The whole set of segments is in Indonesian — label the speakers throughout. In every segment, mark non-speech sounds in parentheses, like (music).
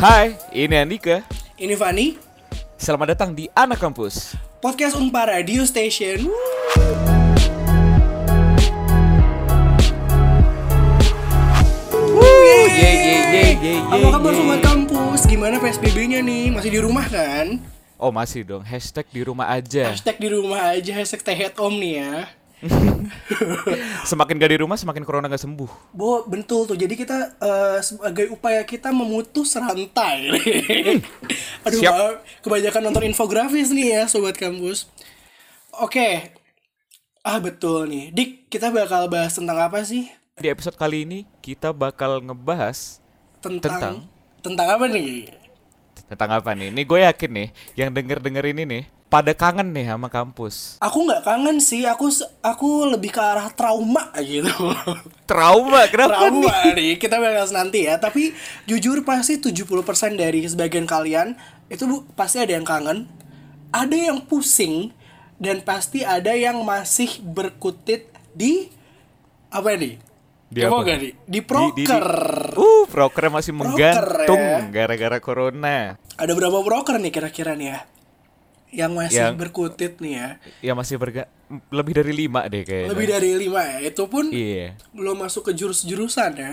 Speaker 1: Hai, ini Andika.
Speaker 2: Ini Fani,
Speaker 1: Selamat datang di Anak Kampus.
Speaker 2: podcast Unpar Radio Station. Wuh. Yeay.
Speaker 1: yeay, yeay, yeay, yeay,
Speaker 2: Apa kabar
Speaker 1: yeay.
Speaker 2: sobat kampus? Gimana PSBB-nya nih? Masih di rumah kan?
Speaker 1: Oh masih dong, hashtag di rumah aja.
Speaker 2: Hashtag di rumah aja, hashtag stay at home nih ya.
Speaker 1: Semakin gak di rumah, semakin corona gak sembuh.
Speaker 2: Bo, bentul tuh. Jadi kita eh, sebagai upaya kita memutus rantai. (laughs) Aduh,
Speaker 1: Siap.
Speaker 2: maaf. kebanyakan nonton infografis nih ya, sobat kampus. Oke. Ah, betul nih. Dik, kita bakal bahas tentang apa sih?
Speaker 1: Di episode kali ini, kita bakal ngebahas
Speaker 2: Tentang
Speaker 1: Tentang?
Speaker 2: tentang, apa nih?
Speaker 1: tentang apa nih. Nih gue yakin nih, yang denger-denger ini nih, pada kangen nih sama kampus.
Speaker 2: Aku nggak kangen sih. Aku se- aku lebih ke arah trauma gitu. (laughs)
Speaker 1: Trauma, kenapa kan nih?
Speaker 2: trauma nih. Kita bahas nanti ya. Tapi jujur pasti 70% dari sebagian kalian itu bu, pasti ada yang kangen, ada yang pusing dan pasti ada yang masih berkutit di apa nih?
Speaker 1: Di apa?
Speaker 2: Kamu nggak, Di, di
Speaker 1: Di-
Speaker 2: proker.
Speaker 1: di- di- Uh, proker masih menggantung
Speaker 2: ya.
Speaker 1: gara-gara corona.
Speaker 2: Ada berapa proker nih kira-kira nih ya? Yang masih
Speaker 1: Yang-
Speaker 2: berkutit nih ya.
Speaker 1: Ya masih berga lebih dari lima deh kayaknya.
Speaker 2: Lebih dari lima ya. Itu pun
Speaker 1: Iya.
Speaker 2: belum masuk ke jurus-jurusan ya.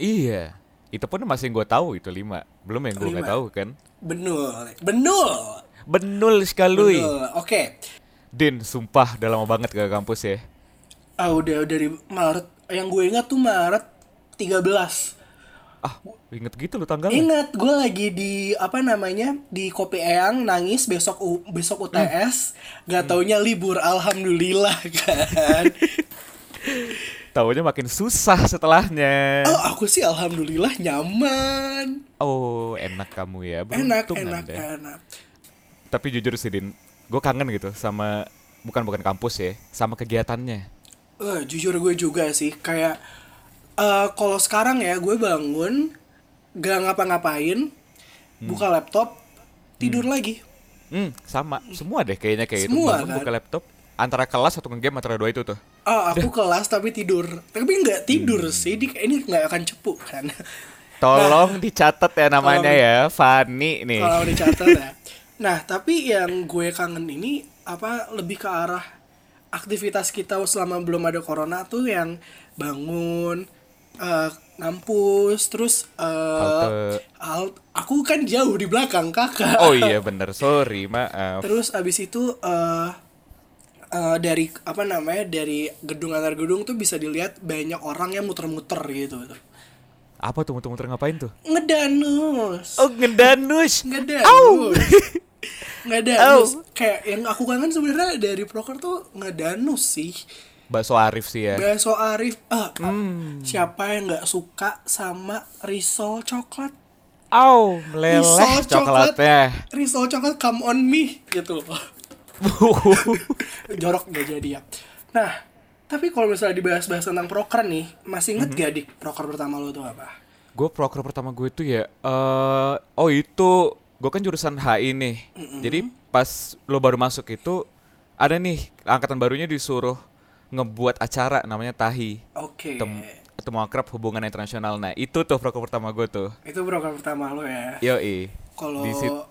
Speaker 1: Iya. Itu pun masih gue tahu itu lima. Belum yang gue gak
Speaker 2: Lima.
Speaker 1: tahu kan.
Speaker 2: Benul. Benul.
Speaker 1: Benul sekali.
Speaker 2: Benul. Oke.
Speaker 1: Din, sumpah udah lama banget gak ke kampus ya.
Speaker 2: Ah udah dari Maret yang gue ingat tuh Maret 13.
Speaker 1: Ah, inget gitu lu tanggalnya.
Speaker 2: Ingat gue lagi di apa namanya di Kopi Eyang nangis besok U- besok UTS gak taunya libur alhamdulillah (laughs) kan.
Speaker 1: Taunya makin susah setelahnya.
Speaker 2: oh aku sih alhamdulillah nyaman.
Speaker 1: Oh, enak kamu ya.
Speaker 2: Enak
Speaker 1: Beruntung
Speaker 2: enak
Speaker 1: Anda.
Speaker 2: enak.
Speaker 1: Tapi jujur sih, Din. Gue kangen gitu sama... Bukan bukan kampus ya. Sama kegiatannya.
Speaker 2: Eh, jujur gue juga sih kayak eh kalau sekarang ya gue bangun gak ngapa-ngapain buka laptop tidur lagi.
Speaker 1: Hmm, sama. Semua deh kayaknya kayak itu.
Speaker 2: Semua,
Speaker 1: Bangun
Speaker 2: kan?
Speaker 1: buka laptop. Antara kelas atau nge-game antara dua itu tuh.
Speaker 2: Ah, aku kelas tapi tidur. Tapi nggak tidur
Speaker 1: Hmm.
Speaker 2: sih. Dik, ini nggak akan cepu kan. Nah.
Speaker 1: Tolong dicatat ya namanya ya. Fani nih.
Speaker 2: (laughs) Kalau dicatat ya. Nah, tapi yang gue kangen ini apa lebih ke arah aktivitas kita selama belum ada corona tuh yang bangun eh ngampus terus eh
Speaker 1: Halte.
Speaker 2: halt- aku kan jauh di belakang kakak
Speaker 1: Oh iya bener. Sorry, maaf.
Speaker 2: terus abis itu eh eh, dari apa namanya dari gedung antar gedung tuh bisa dilihat banyak orang yang muter-muter gitu
Speaker 1: Apa tuh muter-muter ngapain tuh?
Speaker 2: ngedanus
Speaker 1: Oh, ngedanus.
Speaker 2: ngedanus ngedanus
Speaker 1: Oh.
Speaker 2: kayak yang aku kangen sebenarnya dari proker tuh ngedanus sih
Speaker 1: Bakso Arif sih ya. Hmm.
Speaker 2: Bakso Arif ah, siapa yang nggak suka sama risol coklat
Speaker 1: Au, meleleh (laughs) coklatnya.
Speaker 2: risol coklat come on me gitu (laughs) jorok gak jadi ya nah tapi kalau misalnya dibahas-bahas tentang proker nih masih
Speaker 1: Hmm.
Speaker 2: inget gak dik proker pertama lo tuh apa
Speaker 1: gue proker pertama gue itu ya eh oh itu gue kan jurusan HI nih. Jadi pas lo baru masuk itu ada nih angkatan barunya disuruh ngebuat acara namanya Tahi.
Speaker 2: oke
Speaker 1: Tem temu akrab hubungan internasional. Nah, itu tuh proker pertama gue tuh.
Speaker 2: itu proker pertama lo ya
Speaker 1: Yoi.
Speaker 2: kalau
Speaker 1: Di sit-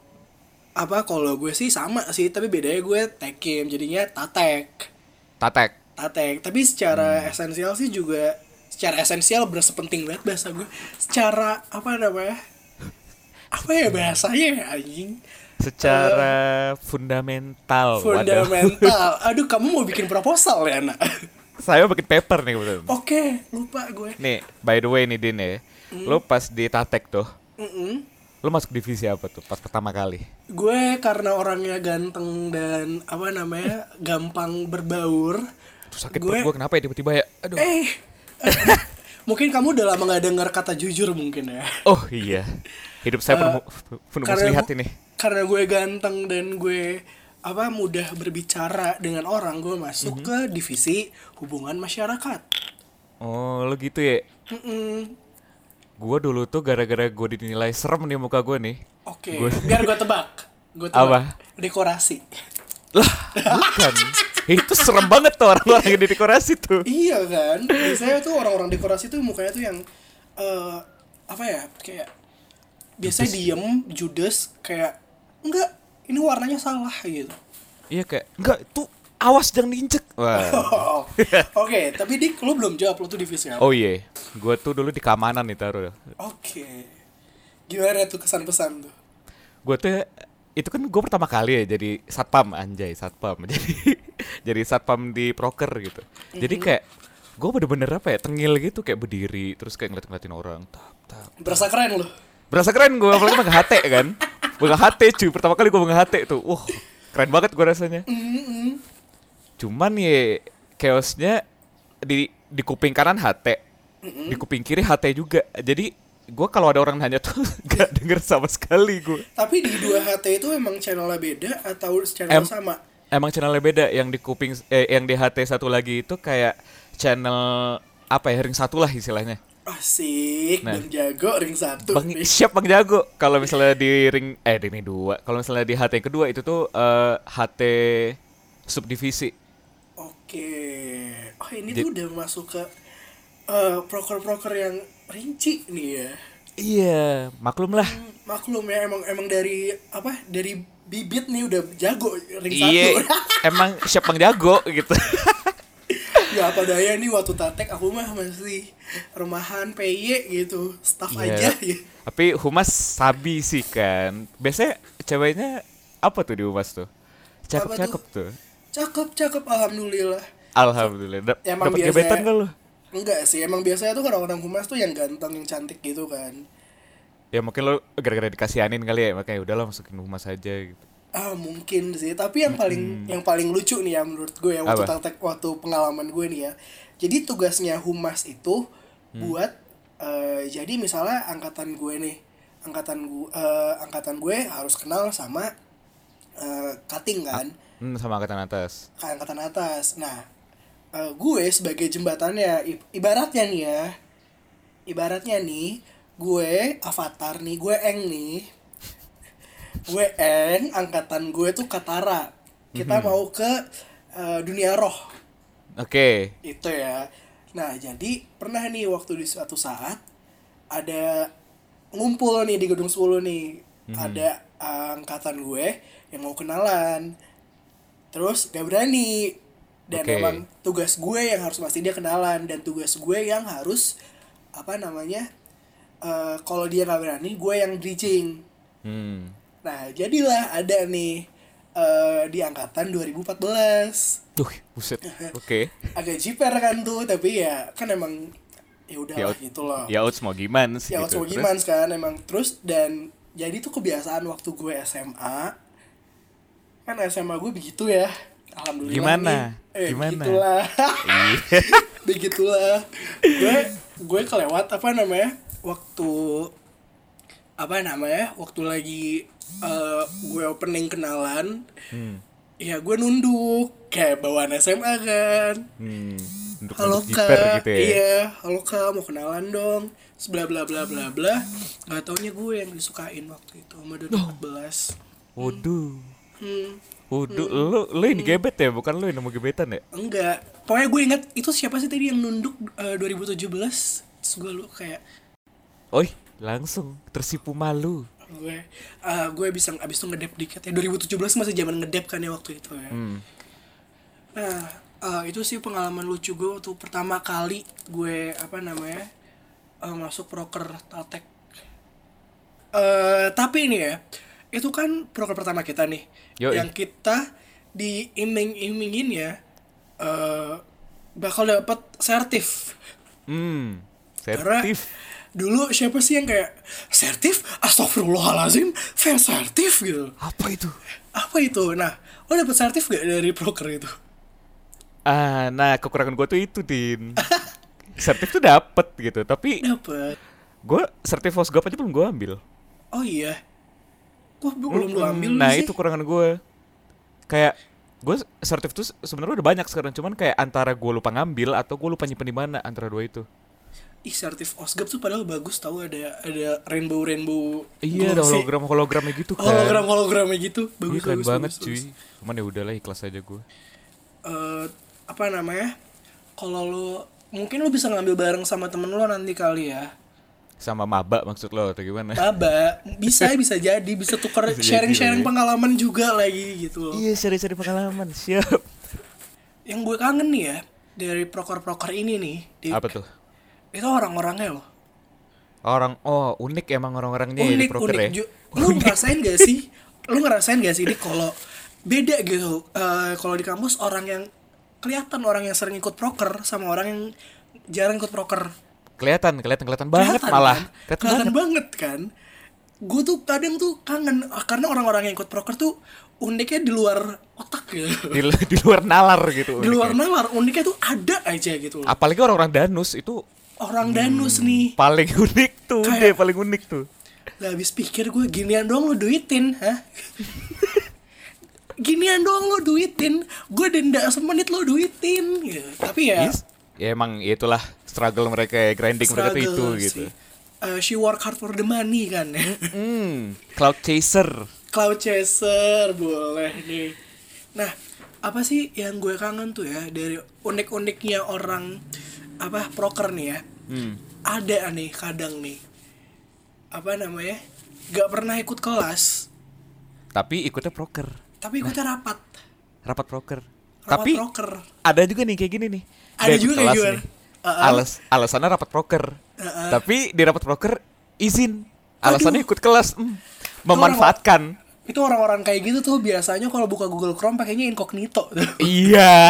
Speaker 2: apa kalau gue sih sama sih tapi bedanya gue tekim jadinya tatek
Speaker 1: Tatek.
Speaker 2: tatek tapi secara
Speaker 1: Hmm.
Speaker 2: esensial sih juga secara esensial bersepenting banget bahasa gue secara apa namanya apa ya bahasanya ya anjing
Speaker 1: Secara fundamental. Oh, waduh. (laughs)
Speaker 2: fundamental aduh kamu mau bikin proposal ya nak
Speaker 1: Saya bikin paper nih kebetulan.
Speaker 2: oke lupa gue
Speaker 1: Nih, by the way nih Din ya. Lo pas di Tatek tuh,
Speaker 2: Mm-mm.
Speaker 1: lo masuk divisi apa tuh pas pertama kali?
Speaker 2: gue karena orangnya ganteng dan apa namanya gampang berbaur
Speaker 1: Tuh sakit
Speaker 2: Gue-
Speaker 1: perut gue kenapa ya tiba-tiba ya? Aduh.
Speaker 2: eh (laughs) mungkin kamu udah lama nggak dengar kata jujur mungkin ya
Speaker 1: Oh iya. Hidup saya penuh penuh muslihat
Speaker 2: gu-
Speaker 1: ini.
Speaker 2: karena gue ganteng dan gue apa mudah berbicara dengan orang gue masuk
Speaker 1: Mhm.
Speaker 2: ke divisi hubungan masyarakat
Speaker 1: Oh, lo gitu ya.
Speaker 2: Mm-mm.
Speaker 1: Gua dulu tuh gara-gara gue dinilai serem nih muka gue nih.
Speaker 2: oke
Speaker 1: Gue-
Speaker 2: biar gue tebak gue tebak
Speaker 1: Apa?
Speaker 2: dekorasi
Speaker 1: Lah, bukan. Itu serem banget tuh orang-orang yang di dekorasi tuh.
Speaker 2: iya kan biasanya tuh orang-orang dekorasi tuh mukanya tuh yang eh apa ya kayak biasanya diem judes kayak enggak ini warnanya salah gitu
Speaker 1: Iya kayak enggak tuh awas jangan diinjek. Wah.
Speaker 2: Oh, oke tapi dik lu belum jawab lu tuh divisinya
Speaker 1: Iya.
Speaker 2: oke
Speaker 1: Oh iya, gue tuh dulu di keamanan nih taruh.
Speaker 2: gimana tuh kesan pesan tuh
Speaker 1: Gue tuh itu kan gue pertama kali ya jadi satpam anjay satpam (laughs) jadi jadi satpam di proker gitu. Jadi kayak gue bener-bener apa ya tengil gitu kayak berdiri terus kayak ngeliat-ngeliatin orang. Tap, tap.
Speaker 2: berasa keren lu
Speaker 1: Berasa keren gue apalagi megang HT kan. Megang HT cuy pertama kali gue megang HT tuh. Wah keren banget gue rasanya. Cuman ya chaosnya di di kuping kanan HT, di kuping kiri HT juga. Jadi gua kalau ada orang nanya tuh (laughs) gak denger sama sekali gue.
Speaker 2: tapi di dua HT itu emang channelnya beda atau channel
Speaker 1: Em-
Speaker 2: sama
Speaker 1: Emang channelnya beda yang di kuping eh, yang di HT satu lagi itu kayak channel apa ya ring satu lah istilahnya.
Speaker 2: asik
Speaker 1: Nah.
Speaker 2: dan jago ring satu
Speaker 1: Bang siap Bang Jago. Kalau misalnya di ring eh di ring dua, kalau misalnya di HT yang kedua itu tuh eh, HT subdivisi.
Speaker 2: Oke. Oh ini tuh udah masuk ke eh, proker-proker yang rinci nih ya.
Speaker 1: Iya, maklum lah.
Speaker 2: Hmm, Maklum ya emang emang dari apa dari bibit nih udah jago ring
Speaker 1: Iya,
Speaker 2: (laughs) satu.
Speaker 1: (laughs) emang siap Bang Jago
Speaker 2: (laughs)
Speaker 1: gitu.
Speaker 2: ya apa daya nih waktu tatek aku mah masih rumahan PY gitu staff
Speaker 1: Iya.
Speaker 2: aja. Ya.
Speaker 1: Tapi humas sabi sih kan. Biasanya ceweknya apa tuh di humas tuh? Cakep-cakep tuh.
Speaker 2: Cakep cakep alhamdulillah.
Speaker 1: Alhamdulillah. Dap-
Speaker 2: Ya, emang
Speaker 1: Dapat
Speaker 2: biasanya-
Speaker 1: gebetan gak lu?
Speaker 2: Enggak sih emang biasanya tuh orang-orang humas tuh yang ganteng yang cantik gitu kan.
Speaker 1: Ya mungkin lu gara-gara dikasihanin kali ya, makanya udahlah masukin humas aja gitu.
Speaker 2: Ah mungkin sih, tapi yang paling yang paling lucu nih ya menurut gue yang waktu
Speaker 1: Apa?
Speaker 2: praktek- waktu pengalaman gue nih ya. Jadi tugasnya humas itu
Speaker 1: Hmm.
Speaker 2: buat eh, jadi misalnya angkatan gue nih, angkatan gue angkatan gue harus kenal sama eh, cutting kan,
Speaker 1: Hmm, sama angkatan atas.
Speaker 2: ke angkatan atas. Nah, eh, gue sebagai jembatannya i- ibaratnya nih ya. Ibaratnya nih gue avatar nih, gue eng nih. gue eng, angkatan gue tuh Katara. Kita mau ke eh, dunia roh
Speaker 1: Oke.
Speaker 2: itu ya. Nah, jadi pernah nih waktu di suatu saat ada ngumpul nih di gedung 10 nih. Ada eh, angkatan gue yang mau kenalan terus gak berani dan
Speaker 1: Oke.
Speaker 2: emang tugas gue yang harus pasti dia kenalan dan tugas gue yang harus apa namanya eh, kalau dia gak berani gue yang bridging
Speaker 1: Hmm.
Speaker 2: nah jadilah ada nih eh, di angkatan 2014
Speaker 1: Duh, buset. Oke.
Speaker 2: agak jiper kan tuh tapi ya kan emang ya udah
Speaker 1: out-
Speaker 2: gitu loh
Speaker 1: Ya outs mau gimana sih
Speaker 2: ya
Speaker 1: gitu.
Speaker 2: Otsubo
Speaker 1: Terus,
Speaker 2: Gimans kan emang terus dan jadi tuh kebiasaan waktu gue SMA kan SMA gue begitu ya alhamdulillah
Speaker 1: Gimana?
Speaker 2: nih. eh,
Speaker 1: Gimana?
Speaker 2: begitulah
Speaker 1: Iya.
Speaker 2: (laughs) begitulah gue gue kelewat apa namanya waktu apa namanya waktu lagi eh, gue opening kenalan
Speaker 1: Hmm.
Speaker 2: ya gue nunduk kayak bawaan SMA kan
Speaker 1: Hmm. Untuk
Speaker 2: halo
Speaker 1: untuk jiper
Speaker 2: kak
Speaker 1: gitu ya.
Speaker 2: iya halo kak mau kenalan dong sebla bla bla bla bla nggak taunya gue yang disukain waktu itu sama 2014
Speaker 1: Waduh.
Speaker 2: hmm,
Speaker 1: Waduh, lu lu yang digebet ya, bukan lu yang nemu gebetan ya?
Speaker 2: enggak pokoknya gue inget itu siapa sih tadi yang nunduk eh, 2017 terus gue lu kayak
Speaker 1: Oi, langsung tersipu malu.
Speaker 2: gue eh, gue bisa abis itu ngedep dikit ya 2017 masih zaman ngedep kan ya waktu itu ya
Speaker 1: Hmm.
Speaker 2: nah eh, itu sih pengalaman lucu gue waktu pertama kali gue apa namanya eh, masuk proker Taltek eh tapi ini ya itu kan proker pertama kita nih
Speaker 1: Yoi.
Speaker 2: yang kita diiming-imingin ya eh, bakal dapat sertif
Speaker 1: Hmm.
Speaker 2: Karena
Speaker 1: Sertif.
Speaker 2: dulu siapa sih yang kayak sertif astagfirullahalazim fans sertif gitu
Speaker 1: Apa itu?
Speaker 2: apa itu nah lo dapet sertif gak dari broker itu
Speaker 1: Ah, nah kekurangan gue tuh itu, Din.
Speaker 2: (laughs)
Speaker 1: sertif tuh dapet gitu, tapi
Speaker 2: dapet
Speaker 1: gue sertif host gue aja belum gue ambil.
Speaker 2: oh iya kok bu- belum lo ambil
Speaker 1: nah
Speaker 2: sih?
Speaker 1: itu kekurangan gue. Kayak gue sertif tuh sebenarnya udah banyak sekarang, cuman kayak antara gue lupa ngambil atau gue lupa nyimpen di mana antara dua itu.
Speaker 2: ih sertif osgap tuh padahal bagus tau ada ada rainbow rainbow
Speaker 1: Iya, ada
Speaker 2: glossy.
Speaker 1: hologram hologramnya gitu kan.
Speaker 2: hologram hologramnya gitu
Speaker 1: Iya,
Speaker 2: bagus
Speaker 1: keren
Speaker 2: bagus,
Speaker 1: banget
Speaker 2: bagus,
Speaker 1: cuy.
Speaker 2: bagus.
Speaker 1: Cuman ya udahlah ikhlas aja gue.
Speaker 2: Eh, apa namanya kalau lo mungkin lo bisa ngambil bareng sama temen lo nanti kali ya
Speaker 1: sama maba maksud lo atau gimana?
Speaker 2: Maba bisa bisa jadi bisa tukar
Speaker 1: Bisa jadi,
Speaker 2: sharing-sharing
Speaker 1: iya.
Speaker 2: pengalaman juga lagi gitu loh.
Speaker 1: Iya, seri-seri pengalaman. Siap.
Speaker 2: Yang gue kangen nih ya dari proker-proker ini nih, Dik,
Speaker 1: Apa tuh?
Speaker 2: itu orang-orangnya loh.
Speaker 1: Orang oh, unik emang orang-orangnya ya di
Speaker 2: unik
Speaker 1: proker
Speaker 2: unik.
Speaker 1: ya. (laughs)
Speaker 2: Ju- Lu ngerasain gak sih? Lu ngerasain gak sih ini kalau beda gitu? Eh, kalau di kampus orang yang kelihatan orang yang sering ikut proker sama orang yang jarang ikut proker.
Speaker 1: Kelihatan, kelihatan kelihatan banget
Speaker 2: Kelihatan
Speaker 1: malah.
Speaker 2: kan?
Speaker 1: Kelihatan
Speaker 2: Kelihatan banget kan? Gue tuh kadang tuh kangen ah, karena orang-orang yang ikut proker tuh uniknya di luar otak gitu.
Speaker 1: di, di luar nalar gitu.
Speaker 2: Di luar
Speaker 1: uniknya.
Speaker 2: nalar, uniknya tuh ada aja gitu loh.
Speaker 1: Apalagi orang-orang danus itu
Speaker 2: Orang danus
Speaker 1: Hmm.
Speaker 2: nih.
Speaker 1: paling unik tuh, deh,
Speaker 2: Kayak-
Speaker 1: paling unik tuh.
Speaker 2: Gak habis pikir gue ginian doang lu duitin, hah? (laughs) ginian doang lu duitin, gue denda semenit lu duitin. Gitu. Tapi ya,
Speaker 1: Yes. Ya emang itulah struggle mereka ya, grinding mereka tuh itu
Speaker 2: struggle
Speaker 1: gitu.
Speaker 2: sih. Eh, she work hard for the money kan.
Speaker 1: Hmm, cloud chaser.
Speaker 2: (laughs) Cloud chaser boleh nih. Nah, apa sih yang gue kangen tuh ya dari unik-uniknya orang apa proker nih ya?
Speaker 1: Hmm.
Speaker 2: Ada nih kadang nih. Apa namanya? Gak pernah ikut kelas,
Speaker 1: Tapi ikutnya proker,
Speaker 2: tapi ikutnya rapat.
Speaker 1: rapat proker.
Speaker 2: Rapat
Speaker 1: Nah. tapi
Speaker 2: proker.
Speaker 1: ada juga nih kayak gini nih.
Speaker 2: Ada
Speaker 1: Dia ikut
Speaker 2: juga kayak
Speaker 1: kelas
Speaker 2: gimana?
Speaker 1: nih.
Speaker 2: Uh-uh.
Speaker 1: Alas alasannya rapat proker.
Speaker 2: Uh-uh.
Speaker 1: Tapi di rapat proker izin. Alasannya
Speaker 2: Aduh.
Speaker 1: ikut kelas. Hmm. Memanfaatkan.
Speaker 2: Itu orang-orang kayak gitu tuh biasanya kalau buka Google Chrome pakainya incognito.
Speaker 1: Iya.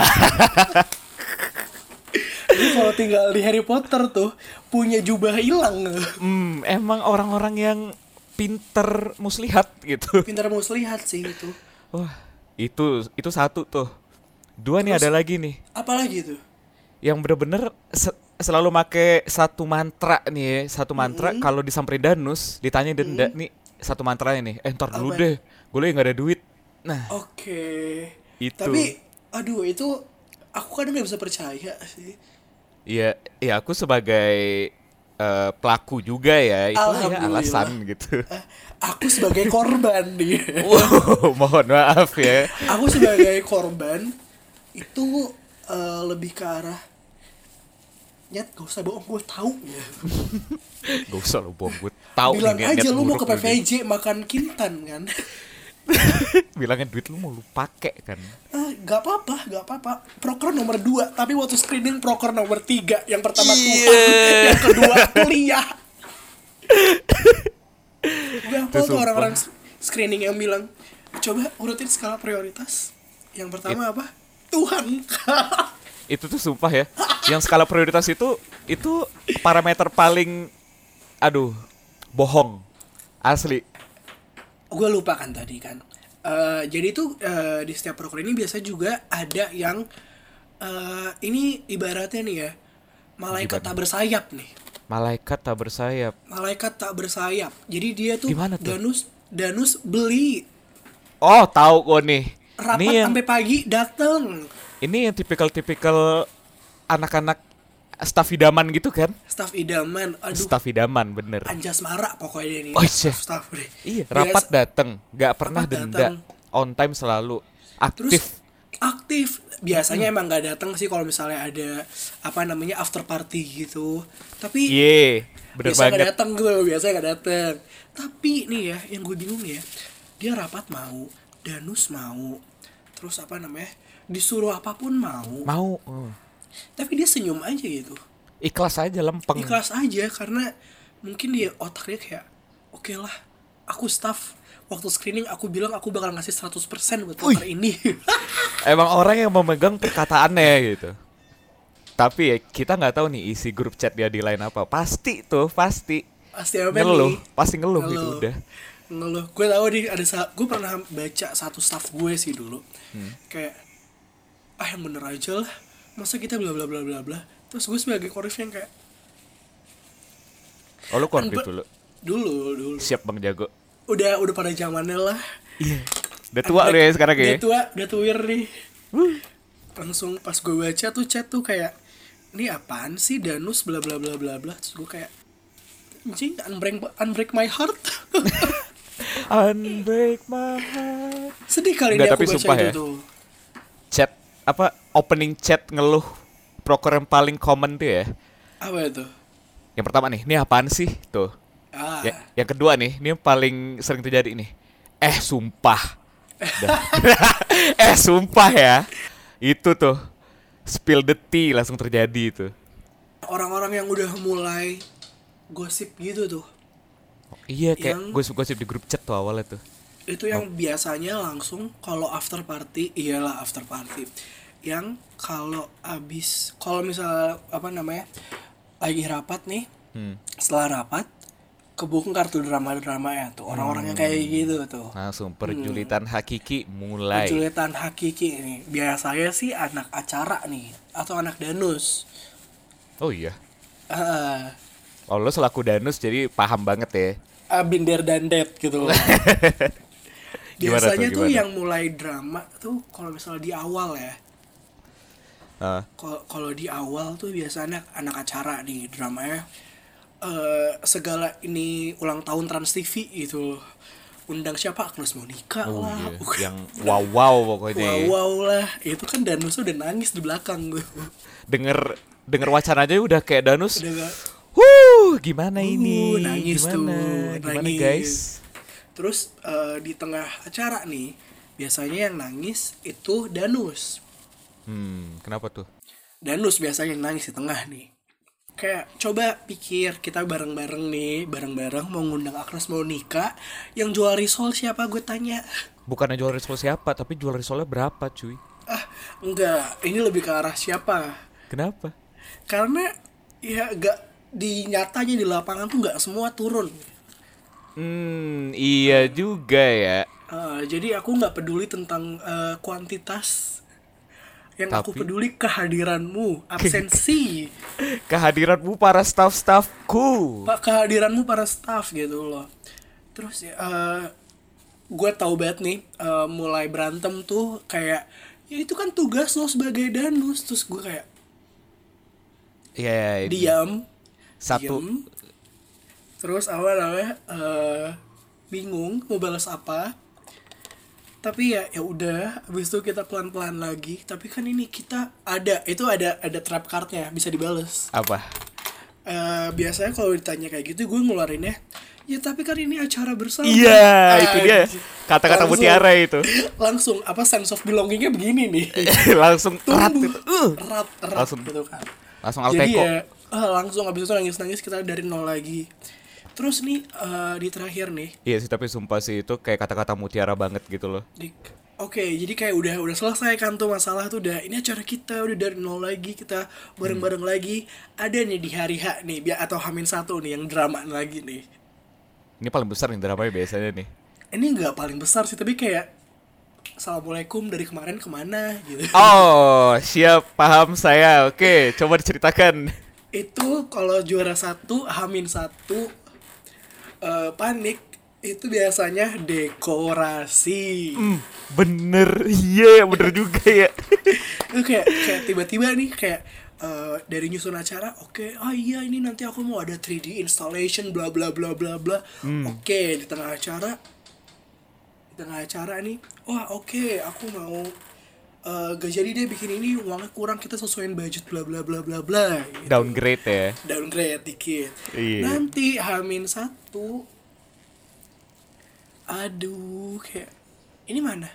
Speaker 2: (laughs)
Speaker 1: (laughs)
Speaker 2: Jadi kalau tinggal di Harry Potter tuh punya jubah hilang. (laughs)
Speaker 1: Hmm, emang orang-orang yang pinter muslihat gitu.
Speaker 2: Pintar muslihat sih itu.
Speaker 1: Wah, itu itu satu tuh. Dua nih ada lagi nih
Speaker 2: Apalagi tuh?
Speaker 1: yang bener-bener se- selalu make satu mantra nih ya, satu mantra kalau disamperin danus ditanya denda nih satu mantra ini. Eh, ntar dulu
Speaker 2: Apa?
Speaker 1: deh. Gue lagi nggak ada duit. Nah,
Speaker 2: Oke.
Speaker 1: Itu.
Speaker 2: Tapi aduh itu aku kadang nggak bisa percaya sih.
Speaker 1: ya ya aku sebagai eh, pelaku juga ya itu ya
Speaker 2: Alhamdulillah.
Speaker 1: alasan gitu. (laughs)
Speaker 2: Eh, aku sebagai korban (laughs) nih.
Speaker 1: Oh. wow, mohon maaf ya.
Speaker 2: Aku sebagai korban itu eh, lebih ke arah nyet gak usah bohong gue tahu
Speaker 1: Gak usah lu bom gue tahu
Speaker 2: bilang
Speaker 1: nih niat-
Speaker 2: aja
Speaker 1: niat
Speaker 2: lu mau ke
Speaker 1: buruk nih.
Speaker 2: PVJ makan kintan kan
Speaker 1: bilangin duit lu mau lu pakai kan
Speaker 2: Ah, gak apa-apa, gak apa-apa. Proker nomor 2, tapi waktu screening proker nomor 3. Yang pertama Tuhan,
Speaker 1: Iya.
Speaker 2: yang kedua kuliah. Gue hafal
Speaker 1: Itu
Speaker 2: tuh
Speaker 1: sumpah.
Speaker 2: orang-orang s- screening yang bilang, coba urutin skala prioritas. Yang
Speaker 1: Iya.
Speaker 2: pertama apa? Tuhan. (laughs)
Speaker 1: itu tuh sumpah ya yang skala prioritas itu itu parameter paling aduh bohong asli
Speaker 2: gue lupa kan tadi kan. Eh, jadi tuh eh, di setiap proker ini biasa juga ada yang, eh, ini ibaratnya nih ya, malaikat tak bersayap nih.
Speaker 1: malaikat tak bersayap
Speaker 2: malaikat tak bersayap. Jadi dia tuh,
Speaker 1: Gimana tuh?
Speaker 2: Danus Danus beli
Speaker 1: oh tahu gue nih ini
Speaker 2: rapat
Speaker 1: yang
Speaker 2: sampai pagi dateng
Speaker 1: ini yang tipikal tipikal anak-anak staff idaman gitu kan
Speaker 2: staff idaman. Aduh,
Speaker 1: staff idaman bener
Speaker 2: anjas marak pokoknya ini.
Speaker 1: Oh, iya.
Speaker 2: Staff deh.
Speaker 1: iya
Speaker 2: Biasa-
Speaker 1: rapat dateng nggak pernah
Speaker 2: Rapat
Speaker 1: denda on time selalu
Speaker 2: terus
Speaker 1: aktif Hmm.
Speaker 2: aktif. Biasanya emang nggak datang sih kalau misalnya ada apa namanya after party gitu.
Speaker 1: Iya,
Speaker 2: Tapi
Speaker 1: Ye, bener
Speaker 2: biasanya
Speaker 1: banget
Speaker 2: nggak datang gue, biasanya nggak datang. Tapi nih ya, yang gue bingung ya, dia rapat mau, Danus mau, terus apa namanya? disuruh apapun mau.
Speaker 1: mau oh.
Speaker 2: tapi dia senyum aja gitu
Speaker 1: ikhlas aja lempeng
Speaker 2: ikhlas aja karena mungkin dia otaknya kayak oke lah aku staff waktu screening aku bilang aku bakal ngasih 100% buat proker ini (laughs)
Speaker 1: emang orang yang memegang perkataannya gitu. Tapi ya kita nggak tahu nih isi grup chat dia di lain apa. Pasti tuh, pasti
Speaker 2: pasti apa
Speaker 1: ngeluh,
Speaker 2: nih
Speaker 1: pasti ngeluh, gitu udah.
Speaker 2: ngeluh gue tahu nih ada sa- gue pernah baca satu staff gue sih dulu
Speaker 1: Hmm.
Speaker 2: kayak ah yang bener aja lah masa kita bla bla bla bla bla terus gue sebagai korif yang kayak
Speaker 1: Oh lu konflik
Speaker 2: "Ber-
Speaker 1: dulu.
Speaker 2: dulu dulu
Speaker 1: Siap Bang Jago.
Speaker 2: udah udah pada zamannya lah
Speaker 1: Iya. Udah tua lu ya sekarang ya.
Speaker 2: udah tua udah tuwir nih langsung pas gue baca tuh chat tuh kayak ini apaan sih Danus bla bla bla bla bla terus gue kayak anjing unbreak unbreak my heart (laughs)
Speaker 1: Unbreak my heart.
Speaker 2: sedih kali ini
Speaker 1: Nggak,
Speaker 2: aku
Speaker 1: tapi
Speaker 2: baca
Speaker 1: sumpah
Speaker 2: itu
Speaker 1: ya.
Speaker 2: tuh
Speaker 1: Chat apa opening chat ngeluh proker yang paling common tuh ya.
Speaker 2: apa itu
Speaker 1: Yang pertama nih, ini apaan sih? Tuh.
Speaker 2: Ah,
Speaker 1: Ya- yang kedua nih, ini yang paling sering terjadi nih. Eh, sumpah. Dah. (laughs) eh, sumpah ya. Itu tuh. Spill the tea langsung terjadi itu.
Speaker 2: orang-orang yang udah mulai gosip gitu tuh
Speaker 1: Iya kayak gue
Speaker 2: Yang-
Speaker 1: gosip di grup chat tuh awalnya tuh.
Speaker 2: itu yang biasanya langsung kalau after party iyalah after party yang kalau abis kalau misal apa namanya lagi rapat nih setelah rapat kebongkar tuh drama dramanya ya tuh orang-orangnya kayak gitu tuh
Speaker 1: Langsung perjulitan hakiki mulai.
Speaker 2: penculitan hakiki ini biasanya sih anak acara nih atau anak danus
Speaker 1: Oh iya.
Speaker 2: Eh,
Speaker 1: Oh lo selaku danus jadi paham banget ya.
Speaker 2: eh, binder dan dead
Speaker 1: (laughs)
Speaker 2: gitu loh
Speaker 1: Gimana tuh,
Speaker 2: biasanya tuh
Speaker 1: gimana?
Speaker 2: yang mulai drama tuh kalau misalnya di awal ya
Speaker 1: Heeh.
Speaker 2: Ko- kalau di awal tuh biasanya anak acara nih dramanya eh segala ini ulang tahun Trans TV gitu undang siapa Agnes Monica
Speaker 1: oh
Speaker 2: lah
Speaker 1: iya.
Speaker 2: Wah,
Speaker 1: Yang wow wow pokoknya.
Speaker 2: wow
Speaker 1: ya.
Speaker 2: wow lah itu kan Danus udah nangis di belakang tuh (laughs)
Speaker 1: Denger denger wacana aja udah kayak danus.
Speaker 2: udah gak
Speaker 1: Wuh, gimana ini?
Speaker 2: nangis
Speaker 1: gimana?
Speaker 2: tuh
Speaker 1: Gimana
Speaker 2: nangis.
Speaker 1: guys?
Speaker 2: terus eh, di tengah acara nih biasanya yang nangis itu Danus
Speaker 1: Hmm, kenapa tuh?
Speaker 2: Danus biasanya yang nangis di tengah nih. Kayak coba pikir kita bareng-bareng nih, bareng-bareng mau ngundang Agnes Monica yang jual risol siapa gue tanya.
Speaker 1: Bukannya jual risol siapa, tapi jual risolnya berapa cuy?
Speaker 2: Ah, enggak, ini lebih ke arah siapa?
Speaker 1: Kenapa?
Speaker 2: Karena ya enggak di nyatanya di lapangan tuh enggak semua turun.
Speaker 1: Hmm, iya juga ya.
Speaker 2: Eh, jadi aku nggak peduli tentang eh, kuantitas. Yang aku
Speaker 1: Tapi-
Speaker 2: peduli kehadiranmu, absensi,
Speaker 1: Kehadiranmu para staff-staffku.
Speaker 2: Pak kehadiranmu para staff gitu loh. Terus ya, gue tahu banget nih eh, mulai berantem tuh kayak ya itu kan tugas lo sebagai danus terus gue kayak
Speaker 1: Iya, iya.
Speaker 2: diam
Speaker 1: satu
Speaker 2: diem. terus awal awalnya eh, bingung mau balas apa tapi ya ya udah habis itu kita pelan pelan lagi tapi kan ini kita ada itu ada ada trap cardnya bisa dibales
Speaker 1: apa?
Speaker 2: Eh, biasanya kalau ditanya kayak gitu gue ngeluarinnya ya tapi kan ini acara bersama
Speaker 1: Iya, itu dia.
Speaker 2: Anjir.
Speaker 1: Kata-kata
Speaker 2: Langsung-
Speaker 1: mutiara itu.
Speaker 2: (laughs)
Speaker 1: (laughs)
Speaker 2: langsung apa sense of belongingnya begini nih
Speaker 1: langsung erat
Speaker 2: tumbuh
Speaker 1: gitu. Uh,
Speaker 2: erat erat
Speaker 1: Langsung.
Speaker 2: gitu kan
Speaker 1: Langsung
Speaker 2: jadi
Speaker 1: Alteco.
Speaker 2: ya eh, langsung abis itu nangis nangis kita dari nol lagi terus nih eh, di terakhir nih
Speaker 1: Iya sih, tapi sumpah sih itu kayak kata-kata mutiara banget gitu loh.
Speaker 2: Dik. Oke, jadi kayak udah udah selesai kan tuh masalah tuh udah ini acara kita udah dari nol lagi kita bareng-bareng
Speaker 1: Hmm.
Speaker 2: lagi ada nih di hari H nih bi- atau Hamin satu nih yang drama lagi nih.
Speaker 1: Ini paling besar nih dramanya biasanya
Speaker 2: (laughs)
Speaker 1: nih.
Speaker 2: Ini nggak paling besar sih tapi kayak assalamualaikum dari kemarin kemana gitu.
Speaker 1: Oh, siap paham saya. Oke, coba diceritakan.
Speaker 2: Itu kalau juara satu Hamin satu eh, panik itu biasanya dekorasi.
Speaker 1: Hmm, bener, (laughs) iya bener juga ya.
Speaker 2: Itu kayak kayak tiba-tiba nih kayak eh, dari nyusun acara oke oh iya ini nanti aku mau ada 3D installation bla bla bla bla bla oke di tengah acara di tengah acara nih wah oke aku mau eh, gak jadi deh bikin ini uangnya kurang kita sesuaiin budget bla bla bla bla bla gitu.
Speaker 1: Downgrade ya.
Speaker 2: downgrade dikit
Speaker 1: Iya.
Speaker 2: nanti hamin satu aduh kayak ini mana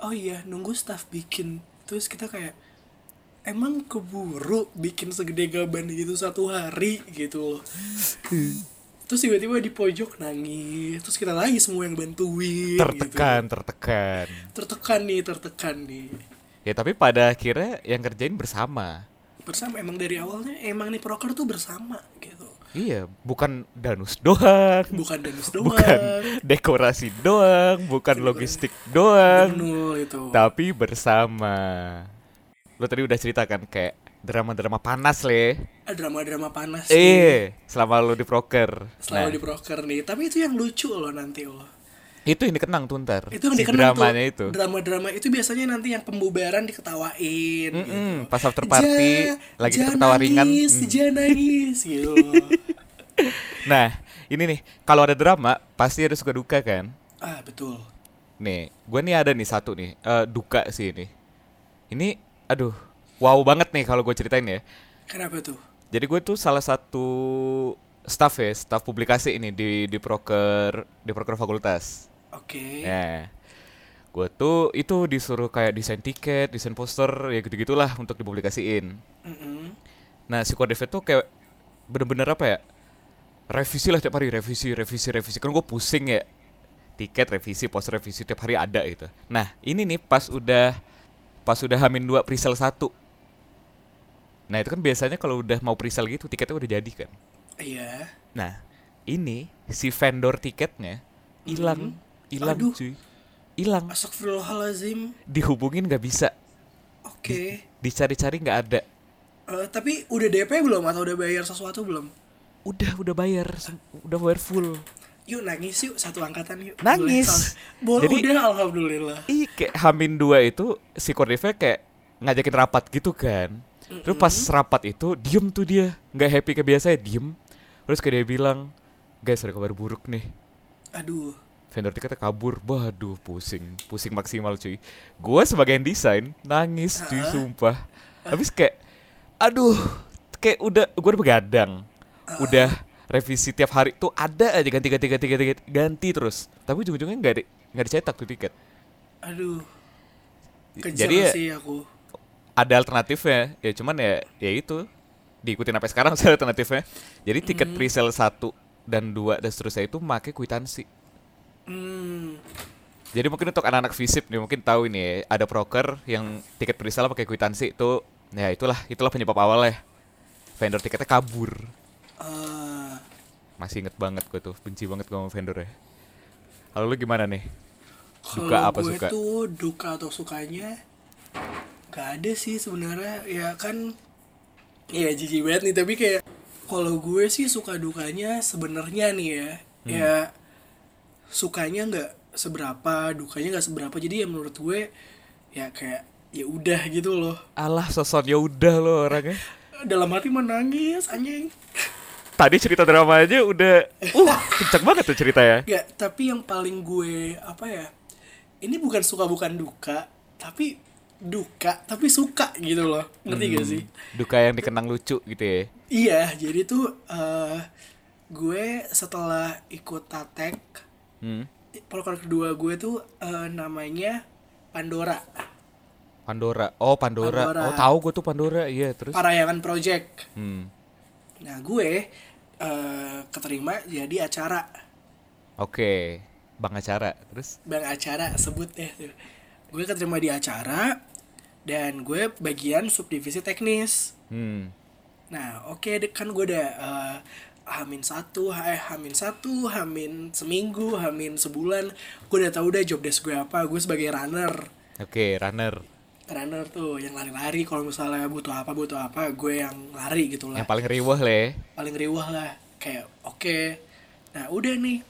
Speaker 2: oh iya nunggu staff bikin terus kita kayak emang keburu bikin segede gaban gitu satu hari gitu loh terus tiba-tiba di pojok nangis terus kita lagi semua yang bantuin
Speaker 1: Tertekan, tertekan.
Speaker 2: gitu. tertekan nih tertekan nih
Speaker 1: Ya tapi pada akhirnya yang kerjain bersama.
Speaker 2: bersama emang dari awalnya emang nih proker tuh bersama gitu
Speaker 1: Iya, bukan danus doang.
Speaker 2: bukan Dennis doang
Speaker 1: bukan dekorasi doang, bukan
Speaker 2: Iya.
Speaker 1: logistik doang,
Speaker 2: Nul itu.
Speaker 1: tapi bersama. Lo tadi udah ceritakan kayak drama-drama panas le.
Speaker 2: Ah, drama-drama panas nih,
Speaker 1: Eh, selama lo di proker.
Speaker 2: selama
Speaker 1: Nah,
Speaker 2: di proker nih. Tapi itu yang lucu loh nanti loh.
Speaker 1: itu yang dikenang tuh ntar.
Speaker 2: Itu yang
Speaker 1: si
Speaker 2: dikenal
Speaker 1: dramanya
Speaker 2: tuh.
Speaker 1: itu.
Speaker 2: Drama-drama itu biasanya nanti yang pembubaran diketawain.
Speaker 1: Mm-mm,
Speaker 2: gitu.
Speaker 1: pas after party,
Speaker 2: Ja,
Speaker 1: lagi
Speaker 2: ja
Speaker 1: ketawa ringan,
Speaker 2: nangis,
Speaker 1: mm.
Speaker 2: ja
Speaker 1: (laughs)
Speaker 2: nangis gitu. loh.
Speaker 1: Nah, ini nih, kalau ada drama pasti ada suka duka kan?
Speaker 2: ah, betul.
Speaker 1: Nih, gue nih ada nih satu nih, eh, duka sih ini. Ini, aduh, wow banget nih kalau gue ceritain ya.
Speaker 2: Kenapa tuh?
Speaker 1: Jadi gue tuh salah satu staff ya, staff publikasi ini di di proker di proker fakultas.
Speaker 2: Oke.
Speaker 1: Ya. Gue tuh itu disuruh kayak desain tiket, desain poster, ya gitu-gitulah untuk dipublikasiin.
Speaker 2: Mm-mm.
Speaker 1: Nah, si Kodefet tuh kayak bener-bener apa ya? Revisi lah tiap hari, revisi, revisi, revisi. Kan gue pusing ya. Tiket revisi, poster revisi tiap hari ada gitu. Nah, ini nih pas udah pas udah hamin 2 presale 1. Nah, itu kan biasanya kalau udah mau presale gitu tiketnya udah jadi kan.
Speaker 2: Iya.
Speaker 1: Nah, ini si vendor tiketnya hilang, hilang
Speaker 2: Aduh.
Speaker 1: cuy. Hilang.
Speaker 2: Astagfirullahalazim.
Speaker 1: Dihubungin nggak bisa.
Speaker 2: Oke.
Speaker 1: Dicari-cari nggak ada.
Speaker 2: Eh, tapi udah DP belum atau udah bayar sesuatu belum?
Speaker 1: Udah, udah bayar, sem- udah bayar full.
Speaker 2: Yuk nangis yuk satu angkatan yuk.
Speaker 1: Nangis.
Speaker 2: Boleh,
Speaker 1: Jadi-
Speaker 2: udah alhamdulillah.
Speaker 1: Ih, kayak Hamin 2 itu si Cordive kayak ngajakin rapat gitu kan. Terus pas rapat itu diem tuh dia, nggak happy kayak biasanya diem. Terus kayak dia bilang, guys ada kabar buruk nih.
Speaker 2: Aduh.
Speaker 1: Vendor tiketnya kabur, waduh pusing, pusing maksimal cuy. Gue sebagai yang desain nangis cuy sumpah. Habis kayak, aduh, kayak udah gue udah begadang, udah revisi tiap hari tuh ada aja ganti ganti ganti ganti ganti, ganti terus. Tapi ujung-ujungnya nggak di- nggak dicetak tuh tiket.
Speaker 2: Aduh. Kejar
Speaker 1: Jadi ya-
Speaker 2: sih aku.
Speaker 1: ada alternatifnya ya cuman ya ya itu diikutin sampai sekarang (laughs) sih alternatifnya jadi tiket presale 1 dan 2 dan seterusnya itu make kwitansi
Speaker 2: Hmm.
Speaker 1: jadi mungkin untuk anak-anak visip nih mungkin tahu ini ya, ada broker yang tiket presale pakai kwitansi itu ya itulah itulah penyebab awalnya vendor tiketnya kabur
Speaker 2: Eh,
Speaker 1: masih inget banget gue tuh benci banget gue sama vendor ya kalau lu gimana nih
Speaker 2: kalau
Speaker 1: Duka apa
Speaker 2: gue
Speaker 1: suka?
Speaker 2: tuh duka atau sukanya nggak ada sih sebenarnya ya kan ya jijik banget nih tapi kayak kalau gue sih suka dukanya sebenarnya nih ya
Speaker 1: Hmm.
Speaker 2: ya sukanya nggak seberapa dukanya nggak seberapa jadi ya menurut gue ya kayak ya udah gitu loh
Speaker 1: alah sosok ya udah lo orangnya
Speaker 2: dalam hati menangis anjing
Speaker 1: tadi cerita drama aja udah uh kenceng banget tuh ceritanya
Speaker 2: Gak, tapi yang paling gue apa ya? Ini bukan suka bukan duka, tapi duka tapi suka gitu loh. Ngerti gak sih?
Speaker 1: duka yang dikenang lucu gitu ya
Speaker 2: Iya, jadi tuh eh gue setelah ikut Tatek,
Speaker 1: hmm.
Speaker 2: proker kedua gue tuh eh, namanya Pandora,
Speaker 1: Pandora. Oh, Pandora.
Speaker 2: Pandora.
Speaker 1: Oh, tahu gue tuh Pandora. Iya, terus.
Speaker 2: Parayangan Project.
Speaker 1: Hmm.
Speaker 2: Nah, gue eh keterima jadi acara,
Speaker 1: Oke. Bang acara. Terus
Speaker 2: bang acara sebut deh. tuh. Gue keterima di acara dan gue bagian subdivisi teknis.
Speaker 1: hmm.
Speaker 2: Nah, oke deh kan gue udah eh, hamin satu, eh, hamin satu, hamin seminggu, hamin sebulan, gue udah tahu udah job desk gue apa. Gue sebagai runner,
Speaker 1: Oke, runner.
Speaker 2: runner tuh yang lari-lari. Kalau misalnya butuh apa butuh apa, gue yang lari gitu lah.
Speaker 1: Yang paling riweh lah ya.
Speaker 2: Paling riwah lah. Kayak oke. Nah udah nih,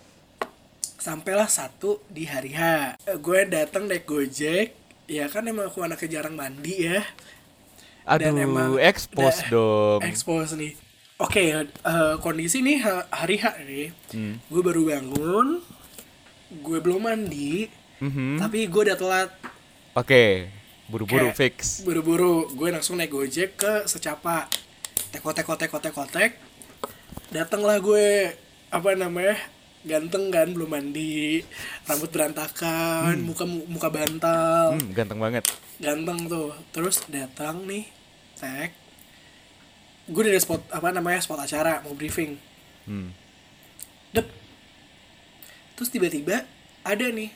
Speaker 2: sampailah satu di hari H. Eh, Gue datang naik gojek. Ya kan emang aku anaknya jarang mandi ya. Dan
Speaker 1: Aduh, expose
Speaker 2: da-
Speaker 1: dong.
Speaker 2: Expose nih. Oke, eh, kondisi nih ha- hari H nih. Gue baru bangun, gue belum mandi,
Speaker 1: Mhm.
Speaker 2: tapi gue udah telat.
Speaker 1: Oke. Buru-buru
Speaker 2: Kayak
Speaker 1: fix.
Speaker 2: Buru-buru, gue langsung naik gojek ke secapa. Tekotek, kotek, kotek, kotek. Datanglah gue apa namanya? Ganteng kan, belum mandi, rambut berantakan, muka muka bantal
Speaker 1: Hmm, ganteng banget.
Speaker 2: ganteng tuh terus datang nih tag gue dari spot apa namanya spot acara mau briefing
Speaker 1: Hmm.
Speaker 2: dep terus tiba-tiba ada nih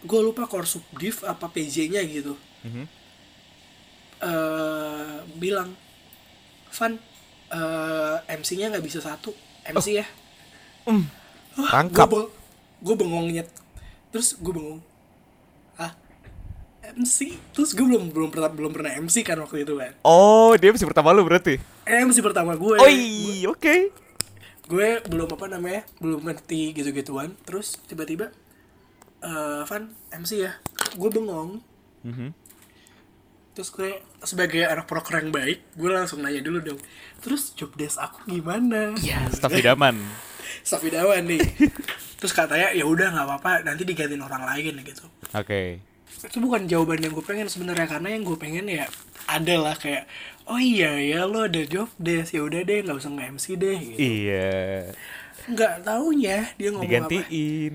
Speaker 2: gue lupa korsub div apa pj nya gitu
Speaker 1: Mhm.
Speaker 2: eh bilang Van eh mc nya nggak bisa satu mc ya
Speaker 1: Mm. Rangkap.
Speaker 2: gue bengongnya terus gue bengong ah MC terus gue belum belum pernah belum pernah MC kan waktu itu kan
Speaker 1: Oh, dia masih pertama lu berarti.
Speaker 2: Eh, MC pertama gue
Speaker 1: Oh, Oi, oke.
Speaker 2: gue belum apa namanya belum ngerti gitu-gituan terus tiba-tiba eh Van MC ya gue bengong
Speaker 1: Mhm.
Speaker 2: terus gue sebagai anak proker yang baik gue langsung nanya dulu dong terus job desk aku gimana (laughs) ya
Speaker 1: Staff idaman.
Speaker 2: staff idawan nih terus katanya ya udah nggak apa-apa nanti digantiin orang lain gitu
Speaker 1: Oke.
Speaker 2: itu bukan jawaban yang gue pengen sebenarnya karena yang gue pengen ya adalah kayak oh iya ya lo ada job desk ya udah deh nggak usah nge MC deh gitu.
Speaker 1: Iya.
Speaker 2: nggak taunya dia ngomong apa
Speaker 1: Digantiin.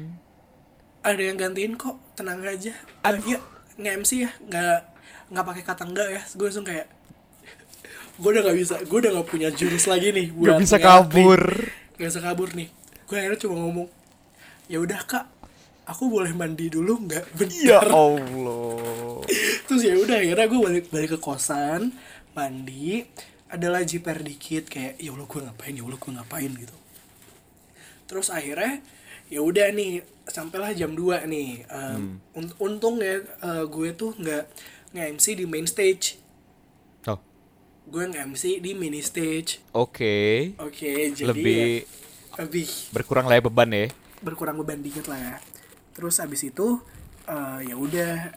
Speaker 2: ada yang gantiin kok tenang aja aduh ya nge MC ya nggak nggak pakai kata enggak ya gue langsung kayak gue udah nggak bisa gue udah nggak punya jurus lagi nih
Speaker 1: Gak
Speaker 2: buat
Speaker 1: bisa
Speaker 2: nge-MC.
Speaker 1: kabur.
Speaker 2: nggak bisa kabur nih gue akhirnya cuma ngomong ya udah kak aku boleh mandi dulu nggak
Speaker 1: Ya
Speaker 2: bentar
Speaker 1: Allah.
Speaker 2: terus ya udah akhirnya gue balik balik ke kosan mandi adalah jiper dikit kayak ya allah gue ngapain ya allah gue ngapain gitu terus akhirnya ya udah nih sampailah jam 2 nih Um, un- untung ya uh, gue tuh nggak nge-MC di main stage
Speaker 1: Oh.
Speaker 2: gue nge-MC di mini stage
Speaker 1: Oke.
Speaker 2: oke jadi
Speaker 1: Lebih
Speaker 2: ya, lebih
Speaker 1: berkurang lah ya beban ya.
Speaker 2: berkurang beban dikit lah ya. Terus abis itu eh, ya udah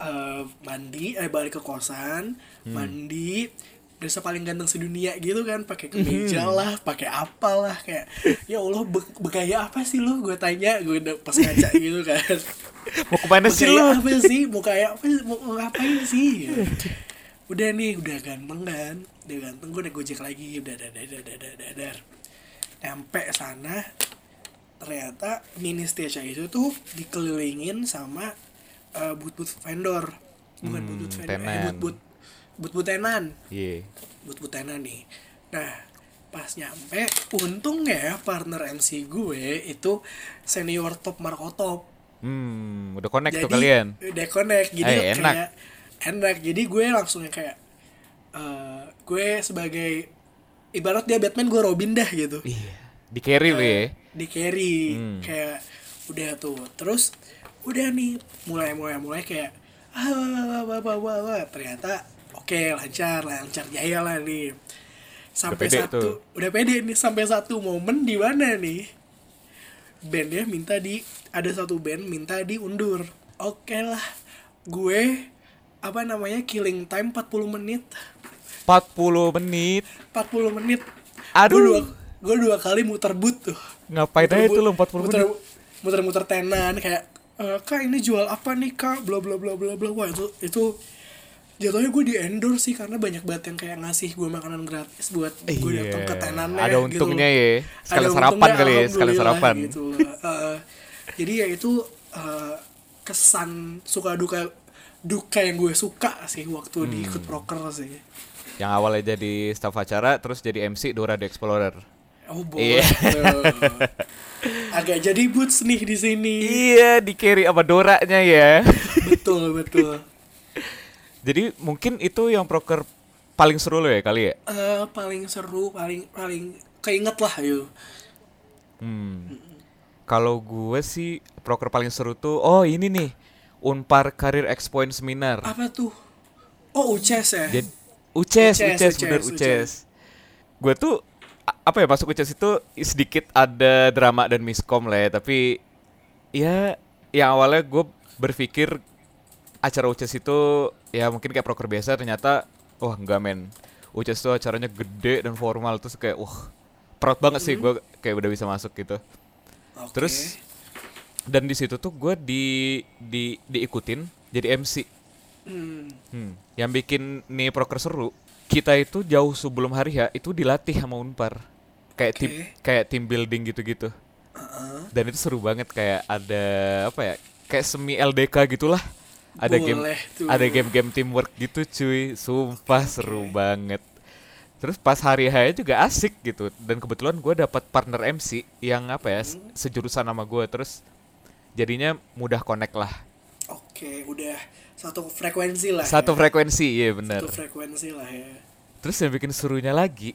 Speaker 2: eh, mandi, eh balik ke kosan, mandi, desa paling ganteng sedunia gitu kan, pakai kemeja lah, pakai apalah kayak ya Allah be- bergaya apa sih lu? Gue tanya, gue udah pas ngaca gitu kan.
Speaker 1: Mau kemana sih lu?
Speaker 2: Bergaya apa sih? Mau kayak apa sih? Mau, mau ngapain sih? Ya. Udah nih, udah ganteng kan, udah ganteng, gue udah gojek lagi, udah, udah, udah, udah, udah, udah, udah. Nyampe sana, ternyata mini stage itu tuh dikelilingin sama uh, but-but vendor bukan
Speaker 1: Hmm,
Speaker 2: but-but vendor eh,
Speaker 1: tenan.
Speaker 2: but-but but-but tenan
Speaker 1: Iya.
Speaker 2: but-but tenan nih nah pas nyampe untungnya partner MC gue itu senior top markotop
Speaker 1: Hmm, udah connect tuh kalian.
Speaker 2: udah connect jadi
Speaker 1: Eh, enak.
Speaker 2: kayak enak jadi gue langsung yang kayak eh, gue sebagai ibarat dia Batman gue Robin dah gitu
Speaker 1: Iya. Di carry lu ya.
Speaker 2: di carry
Speaker 1: Hmm.
Speaker 2: kayak udah tuh terus udah nih mulai mulai mulai kayak ah wah, wah, wah, wah, wah. ternyata oke lancar lancar jaya lah nih sampai
Speaker 1: pede
Speaker 2: satu
Speaker 1: tuh.
Speaker 2: udah pede nih sampai satu momen di mana nih bandnya minta di ada satu band minta diundur oke lah gue apa namanya killing time 40 menit
Speaker 1: 40 menit.
Speaker 2: 40 menit
Speaker 1: Aduh.
Speaker 2: gue dua, gue dua kali muter boot tuh
Speaker 1: Ngapain aja
Speaker 2: Muter-
Speaker 1: Nah, itu lu 40
Speaker 2: muter,
Speaker 1: menit?
Speaker 2: muter-muter tenan kayak "Eh, kak ini jual apa nih kak bla bla bla bla bla wah itu itu jatuhnya gue di endorse sih karena banyak banget yang kayak ngasih gue makanan gratis buat gue
Speaker 1: Iya.
Speaker 2: datang ke tenannya
Speaker 1: Ada
Speaker 2: gitu loh.
Speaker 1: untungnya ya. Sekali
Speaker 2: Ada
Speaker 1: sarapan
Speaker 2: untungnya,
Speaker 1: kali ya, sekali
Speaker 2: alhamdulillah,
Speaker 1: sarapan.
Speaker 2: gitu loh. Eh, jadi ya itu eh, kesan suka duka duka yang gue suka sih waktu di
Speaker 1: Hmm.
Speaker 2: ikut proker sih
Speaker 1: Yang awalnya jadi staf acara terus jadi MC Dora the Explorer.
Speaker 2: oh boleh
Speaker 1: Iya.
Speaker 2: tuh. agak jadi boots nih di sini
Speaker 1: Iya, di carry sama Doranya ya.
Speaker 2: betul betul
Speaker 1: (laughs) jadi mungkin itu yang proker paling seru lo ya kali ya.
Speaker 2: eh paling seru paling paling keinget lah gitu. yuk
Speaker 1: Hmm. Kalau gue sih proker paling seru tuh oh ini nih Unpar Karir Expoin Seminar.
Speaker 2: apa tuh oh UCS ya
Speaker 1: Jadi Uces,
Speaker 2: Uces,
Speaker 1: Uces,
Speaker 2: Uces,
Speaker 1: bener
Speaker 2: Uces.
Speaker 1: Uces. Gue tuh a- apa ya masuk Uces itu sedikit ada drama dan miskom lah ya, tapi ya yang awalnya gue berpikir acara Uces itu ya mungkin kayak proker biasa ternyata wah enggak men. Uces tuh acaranya gede dan formal terus kayak wah proud banget sih gue kayak udah bisa masuk gitu.
Speaker 2: Oke.
Speaker 1: Terus dan di situ tuh gue di di diikutin jadi MC.
Speaker 2: hmm.
Speaker 1: Hmm. Yang bikin nih proker seru, kita itu jauh sebelum hari ya itu dilatih sama Unpar. Kayak tim
Speaker 2: Oke.
Speaker 1: kayak tim building gitu-gitu.
Speaker 2: uh-uh.
Speaker 1: Dan itu seru banget kayak ada apa ya? Kayak semi LDK gitulah. Ada game
Speaker 2: Boleh tuh.
Speaker 1: ada game-game teamwork gitu cuy. Sumpah seru banget. Terus pas hari H juga asik gitu. Dan kebetulan gue dapat partner MC yang apa ya?
Speaker 2: Hmm.
Speaker 1: se- Sejurusan sama gue terus jadinya mudah connect lah.
Speaker 2: oke udah satu frekuensi lah
Speaker 1: Satu
Speaker 2: ya.
Speaker 1: frekuensi, iya benar.
Speaker 2: satu frekuensi lah ya
Speaker 1: Terus yang bikin serunya lagi,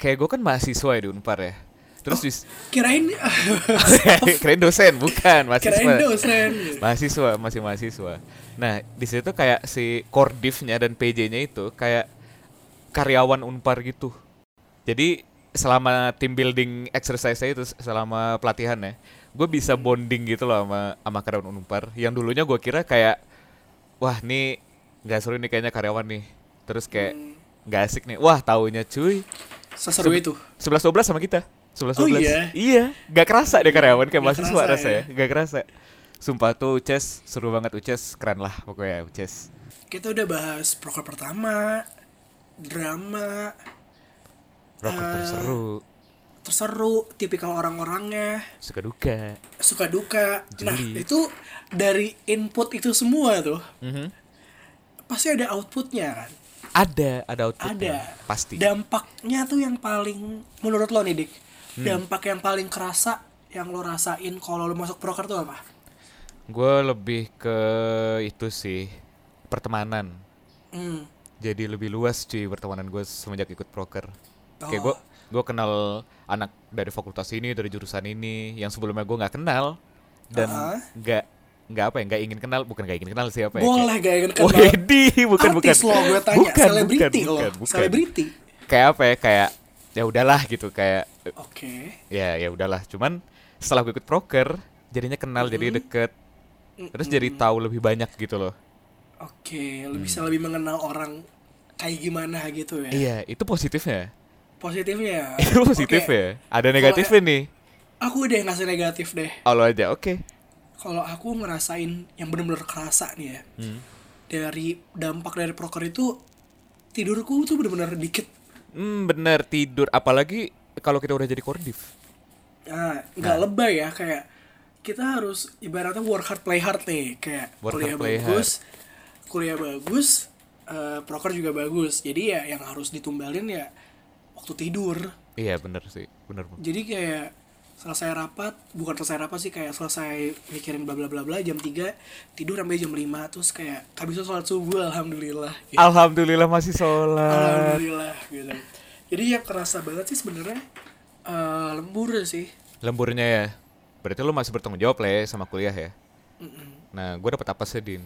Speaker 1: kayak gue kan mahasiswa ya di Unpar ya. Terus
Speaker 2: Oh.
Speaker 1: di
Speaker 2: kirain
Speaker 1: (laughs)
Speaker 2: ya.
Speaker 1: keren dosen bukan mahasiswa.
Speaker 2: kirain dosen
Speaker 1: Mahasiswa, masih mahasiswa. Nah, di situ kayak si kordifnya dan PJ-nya itu kayak karyawan Unpar gitu. Jadi selama team building exercise itu selama pelatihan ya, gue bisa bonding gitu loh sama sama karyawan Unpar. Yang dulunya gue kira kayak wah nih nggak seru nih kayaknya karyawan nih. Terus kayak nggak asik nih. Wah, taunya cuy
Speaker 2: Hmm, seseru itu
Speaker 1: sebelas dua sama kita sebelas
Speaker 2: Oh,
Speaker 1: dua
Speaker 2: iya?
Speaker 1: iya nggak kerasa deh karyawan kayak
Speaker 2: Nggak
Speaker 1: mahasiswa
Speaker 2: kerasa, ya.
Speaker 1: rasanya nggak kerasa Sumpah tuh Uces seru banget Uces keren lah pokoknya Uces.
Speaker 2: Kita udah bahas proker pertama, drama,
Speaker 1: Rocker
Speaker 2: Eh.
Speaker 1: terseru,
Speaker 2: terseru, tipikal orang-orangnya,
Speaker 1: suka duka.
Speaker 2: suka duka. Nah,
Speaker 1: Jeli.
Speaker 2: itu dari input itu semua tuh,
Speaker 1: Mhm.
Speaker 2: pasti ada outputnya kan?
Speaker 1: Ada, ada outputnya.
Speaker 2: Ada.
Speaker 1: Pasti.
Speaker 2: Dampaknya tuh yang paling, menurut lo nih Dik,
Speaker 1: Hmm.
Speaker 2: dampak yang paling kerasa yang lo rasain kalau lo masuk proker tuh apa?
Speaker 1: Gue lebih ke itu sih pertemanan.
Speaker 2: Hmm.
Speaker 1: Jadi lebih luas cuy pertemanan gue semenjak ikut proker. Kayak
Speaker 2: Oh.
Speaker 1: gue gue kenal anak dari fakultas ini dari jurusan ini yang sebelumnya gue nggak kenal dan
Speaker 2: Ah.
Speaker 1: nggak nggak apa ya nggak ingin kenal bukan nggak ingin kenal siapa ya kayak-
Speaker 2: Boleh gak ingin kenal?
Speaker 1: Wedi, bukan bukan.
Speaker 2: Artis lo gue tanya,
Speaker 1: Bukan,
Speaker 2: selebriti
Speaker 1: bukan,
Speaker 2: lo,
Speaker 1: bukan, bukan.
Speaker 2: selebriti.
Speaker 1: Kayak apa ya? Kayak ya udahlah gitu kayak eh,
Speaker 2: Oke.
Speaker 1: ya ya udahlah. Cuman setelah gue ikut proker, jadinya kenal jadi deket. Terus jadi tahu lebih banyak gitu loh.
Speaker 2: Oke,
Speaker 1: Hmm.
Speaker 2: lu bisa lebih mengenal orang kayak gimana gitu ya.
Speaker 1: Iya, itu positifnya.
Speaker 2: Positifnya.
Speaker 1: Itu (laughs) positif
Speaker 2: Oke,
Speaker 1: ya. Ada negatifnya nih.
Speaker 2: Aku udah yang ngasih negatif deh.
Speaker 1: Oh, lo aja, oke.
Speaker 2: Kalau aku ngerasain yang bener-bener kerasa nih ya.
Speaker 1: Hmm.
Speaker 2: Dari dampak dari proker itu tidurku tuh bener-bener dikit.
Speaker 1: Hmm, bener tidur. Apalagi kalau kita udah jadi kordif.
Speaker 2: Nah, nggak lebay ya kayak kita harus ibaratnya work hard play hard nih kayak
Speaker 1: Work
Speaker 2: kuliah
Speaker 1: hard, play
Speaker 2: bagus, kuliah bagus, eh, proker juga bagus. Jadi ya yang harus ditumbalin ya waktu tidur.
Speaker 1: Iya, bener sih. Bener. bener.
Speaker 2: jadi kayak selesai rapat bukan selesai rapat sih kayak selesai mikirin bla bla bla bla jam 3 tidur sampai jam 5 terus kayak habis itu sholat subuh alhamdulillah gitu.
Speaker 1: Alhamdulillah masih sholat.
Speaker 2: alhamdulillah gitu jadi yang kerasa banget sih sebenarnya eh, lembur sih
Speaker 1: Lemburnya ya. Berarti lo masih bertanggung jawab lah ya sama kuliah ya. Nah, gue dapet apa sih, Din?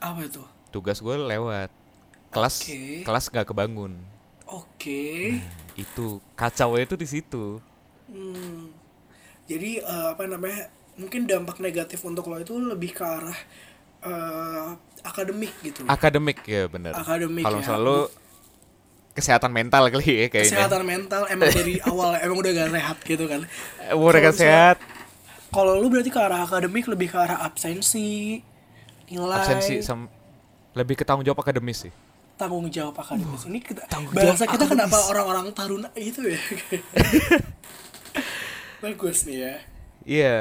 Speaker 2: apa itu
Speaker 1: Tugas gue lewat. Kelas
Speaker 2: Oke.
Speaker 1: kelas gak kebangun.
Speaker 2: oke
Speaker 1: Itu kacau itu di situ.
Speaker 2: Hmm. Jadi eh, apa namanya? Mungkin dampak negatif untuk lo itu lebih ke arah eh, akademik gitu.
Speaker 1: Akademik ya bener.
Speaker 2: Akademik
Speaker 1: Kalau
Speaker 2: ya.
Speaker 1: selalu kesehatan mental kali ya kayaknya.
Speaker 2: Kesehatan mental emang dari awal emang udah gak sehat gitu kan.
Speaker 1: Eh, Mereka
Speaker 2: Kalau
Speaker 1: sehat.
Speaker 2: Kalau lu berarti ke arah akademik lebih ke arah absensi, nilai,
Speaker 1: absensi sam- lebih ke tanggung jawab akademis sih.
Speaker 2: tanggung jawab akademis. Ini kita,
Speaker 1: Tanggung
Speaker 2: bahasa
Speaker 1: jawab
Speaker 2: kita
Speaker 1: akademis.
Speaker 2: kenapa orang-orang taruna gitu
Speaker 1: (laughs)
Speaker 2: ya? Bagus nih ya.
Speaker 1: Iya,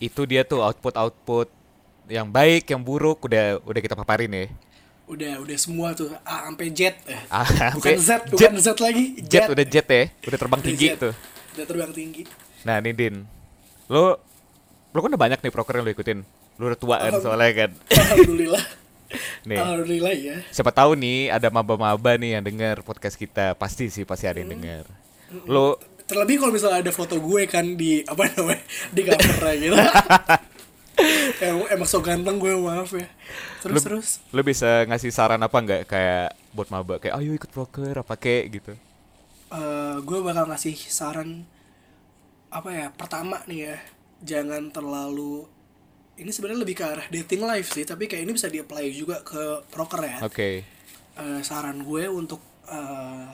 Speaker 1: itu dia tuh output-output yang baik, yang buruk udah udah kita paparin ya.
Speaker 2: Udah udah semua tuh A sampai Z. Eh,
Speaker 1: Ah, sampai
Speaker 2: bukan Z,
Speaker 1: Z.
Speaker 2: bukan Z lagi.
Speaker 1: Jet, udah jet ya, udah
Speaker 2: (laughs)
Speaker 1: terbang
Speaker 2: Udah
Speaker 1: tinggi
Speaker 2: Z.
Speaker 1: tuh.
Speaker 2: Udah terbang tinggi.
Speaker 1: (laughs) Nah, nih Din. Lo lo kan udah banyak nih proker yang lo ikutin. Lo udah tua kan soalnya kan.
Speaker 2: Alhamdulillah.
Speaker 1: Nih.
Speaker 2: Alhamdulillah ya.
Speaker 1: Siapa tahu nih ada maba-maba nih yang denger podcast kita. Pasti sih pasti ada yang denger. Lo
Speaker 2: Terlebih kalau misalnya ada foto gue kan di apa namanya
Speaker 1: (laughs)
Speaker 2: di covernya gitu. emang, emang so ganteng gue maaf ya. Terus
Speaker 1: Lu-
Speaker 2: terus.
Speaker 1: lo bisa ngasih saran apa nggak kayak buat maba kayak ayo ikut proker apa kek gitu.
Speaker 2: eh gue bakal ngasih saran apa ya pertama nih ya jangan terlalu ini sebenarnya lebih ke arah dating life sih tapi kayak ini bisa di apply juga ke proker ya
Speaker 1: Oke.
Speaker 2: Eh, saran gue untuk eh,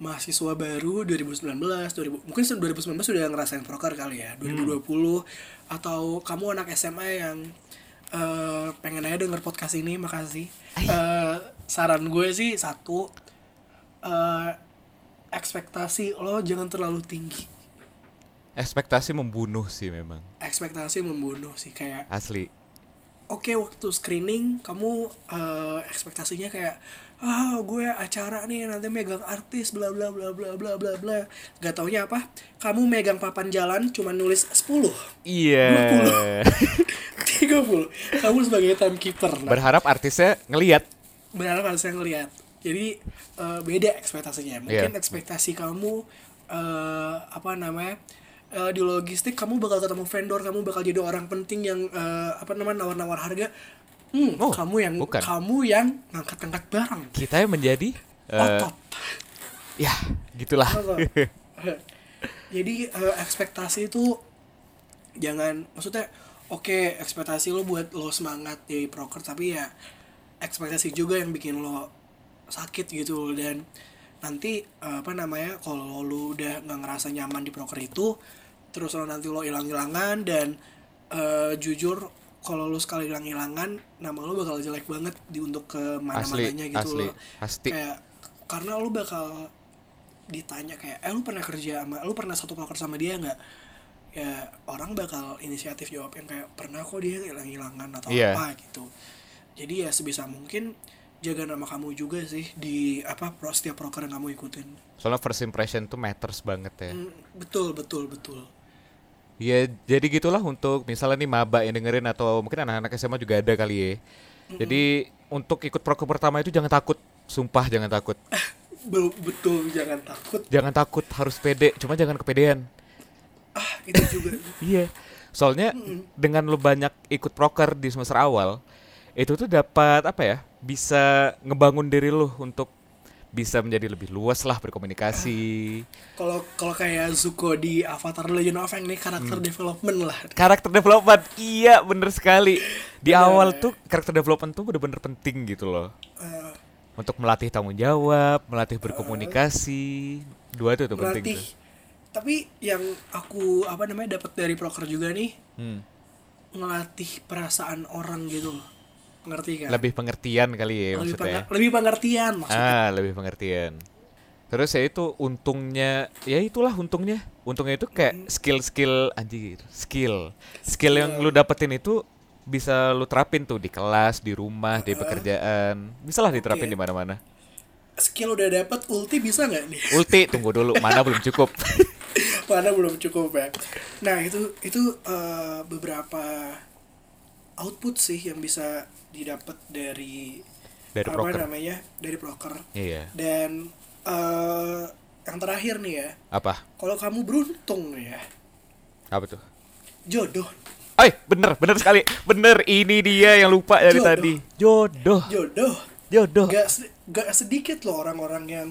Speaker 2: mahasiswa baru 2019 2000, mungkin se- 2019 sudah ngerasain proker kali ya 2020 atau kamu anak SMA yang eh, pengen aja denger podcast ini makasih Eh, saran gue sih satu eh, ekspektasi lo jangan terlalu tinggi
Speaker 1: Ekspektasi membunuh sih memang.
Speaker 2: ekspektasi membunuh sih kayak
Speaker 1: Asli.
Speaker 2: oke waktu screening kamu eh, ekspektasinya kayak ah gue acara nih nanti megang artis bla bla bla bla bla bla bla gak taunya apa kamu megang papan jalan cuma nulis (laughs)
Speaker 1: (laughs)
Speaker 2: 10
Speaker 1: Iya.
Speaker 2: 30 kamu sebagai timekeeper nah,
Speaker 1: Berharap artisnya ngelihat.
Speaker 2: benar harus saya ngeliat jadi eh, beda ekspektasinya mungkin
Speaker 1: Iya.
Speaker 2: ekspektasi kamu eh, apa namanya eh, di logistik kamu bakal ketemu vendor kamu bakal jadi orang penting yang eh, apa namanya nawar-nawar harga hmm,
Speaker 1: Oh,
Speaker 2: kamu yang
Speaker 1: bukan.
Speaker 2: kamu yang ngangkat-ngangkat barang
Speaker 1: Kita yang menjadi eh,
Speaker 2: otot
Speaker 1: ya, gitulah.
Speaker 2: Otot.
Speaker 1: (laughs)
Speaker 2: jadi eh, ekspektasi itu jangan maksudnya oke ekspektasi lo buat lo semangat di proker tapi ya ekspektasi juga yang bikin lo sakit gitu dan nanti eh, apa namanya kalau lo udah nggak ngerasa nyaman di proker itu terus lo nanti lo hilang hilangan dan eh, jujur kalau lu sekali hilang-hilangan nama lu bakal jelek banget di untuk ke
Speaker 1: Asli,
Speaker 2: mana-mananya gitu
Speaker 1: asli,
Speaker 2: loh.
Speaker 1: pasti.
Speaker 2: Kayak karena lu bakal ditanya kayak eh lu pernah kerja sama lu pernah satu kantor sama dia nggak ya orang bakal inisiatif jawab yang kayak pernah kok dia hilang-hilangan atau
Speaker 1: Iya.
Speaker 2: apa gitu jadi ya sebisa mungkin jaga nama kamu juga sih di apa pro setiap proker yang kamu ikutin
Speaker 1: Soalnya first impression tuh matters banget ya.
Speaker 2: Mm, betul betul betul
Speaker 1: Ya jadi gitulah untuk misalnya nih maba yang dengerin atau mungkin anak-anak SMA juga ada kali ya.
Speaker 2: Hmm.
Speaker 1: Jadi untuk ikut proker pertama itu jangan takut, sumpah jangan takut.
Speaker 2: Be- betul jangan takut
Speaker 1: Jangan takut, harus pede, cuma jangan kepedean.
Speaker 2: ah itu juga
Speaker 1: Iya. Soalnya dengan lo banyak ikut proker di semester awal, itu tuh dapat apa ya? Bisa ngebangun diri lo untuk bisa menjadi lebih luas lah berkomunikasi.
Speaker 2: kalau kalau kayak Zuko di Avatar The Legend of Aang nih karakter development lah
Speaker 1: Karakter development, iya bener sekali. Di awal tuh karakter development tuh bener-bener penting gitu loh.
Speaker 2: Eh,
Speaker 1: Untuk melatih tanggung jawab, melatih berkomunikasi, dua itu tuh penting.
Speaker 2: berarti
Speaker 1: Tuh.
Speaker 2: tapi yang aku apa namanya dapat dari proker juga nih
Speaker 1: Hmm.
Speaker 2: ngelatih perasaan orang gitu loh ngerti kan
Speaker 1: Lebih pengertian kali ya
Speaker 2: lebih,
Speaker 1: maksudnya.
Speaker 2: peng- lebih pengertian maksudnya
Speaker 1: Ah, lebih pengertian. Terus ya itu untungnya, ya itulah untungnya. Untungnya itu kayak skill-skill anjir, skill. Skill yang lu dapetin itu bisa lu terapin tuh di kelas, di rumah, di pekerjaan. Bisa lah diterapin
Speaker 2: Oke.
Speaker 1: di mana-mana.
Speaker 2: skill udah dapat ulti bisa nggak nih (laughs)
Speaker 1: Ulti tunggu dulu, mana belum cukup.
Speaker 2: mana belum cukup ya nah itu itu eh, beberapa output sih yang bisa didapat dari
Speaker 1: Dari
Speaker 2: apa
Speaker 1: proker.
Speaker 2: namanya dari proker
Speaker 1: iya.
Speaker 2: dan eh, yang terakhir nih ya
Speaker 1: Apa?
Speaker 2: kalau kamu beruntung nih ya
Speaker 1: Apa tuh?
Speaker 2: jodoh
Speaker 1: Eh, bener, bener sekali. Bener, ini dia yang lupa dari
Speaker 2: Jodoh.
Speaker 1: tadi. Jodoh.
Speaker 2: jodoh
Speaker 1: Jodoh.
Speaker 2: gak, se- gak sedikit loh orang-orang yang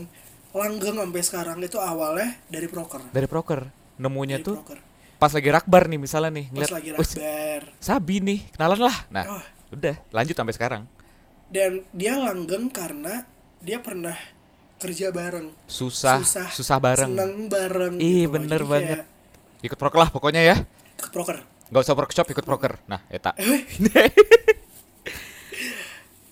Speaker 2: langgeng sampai sekarang itu awalnya dari proker
Speaker 1: Dari proker. Nemunya
Speaker 2: dari
Speaker 1: tuh
Speaker 2: proker
Speaker 1: pas lagi rakbar nih misalnya nih.
Speaker 2: pas
Speaker 1: ngeliat,
Speaker 2: lagi
Speaker 1: "Wih,
Speaker 2: rabar
Speaker 1: Sabi nih, kenalan lah. Nah,
Speaker 2: Oh.
Speaker 1: udah lanjut sampai sekarang.
Speaker 2: dan dia langgeng karena dia pernah kerja bareng
Speaker 1: Susah, susah, bareng.
Speaker 2: seneng bareng
Speaker 1: Ih,
Speaker 2: gitu.
Speaker 1: bener
Speaker 2: Jadi
Speaker 1: banget.
Speaker 2: kayak
Speaker 1: Ikut proker lah pokoknya ya.
Speaker 2: ke proker
Speaker 1: Gak usah workshop, ikut proker. Nah, eta.
Speaker 2: Eh,
Speaker 1: (laughs)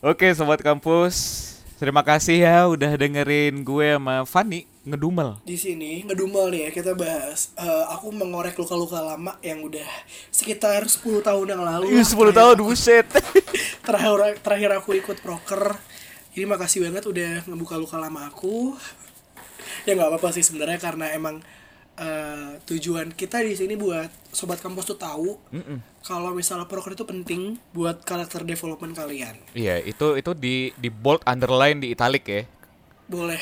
Speaker 1: Oke, sobat kampus. Terima kasih ya udah dengerin gue sama Fanny ngedumel.
Speaker 2: di sini ngedumel nih ya kita bahas Eh, aku mengorek luka-luka lama yang udah sekitar 10 tahun yang lalu
Speaker 1: Ih, 10 Iya, tahun
Speaker 2: (laughs)
Speaker 1: buset.
Speaker 2: terakhir terakhir aku ikut proker jadi makasih banget udah ngebuka luka lama aku ya nggak apa-apa sih sebenarnya karena emang eh, tujuan kita di sini buat sobat kampus tuh tahu kalau misalnya proker itu penting buat karakter development kalian
Speaker 1: Iya, itu itu di di bold underline di italic ya.
Speaker 2: boleh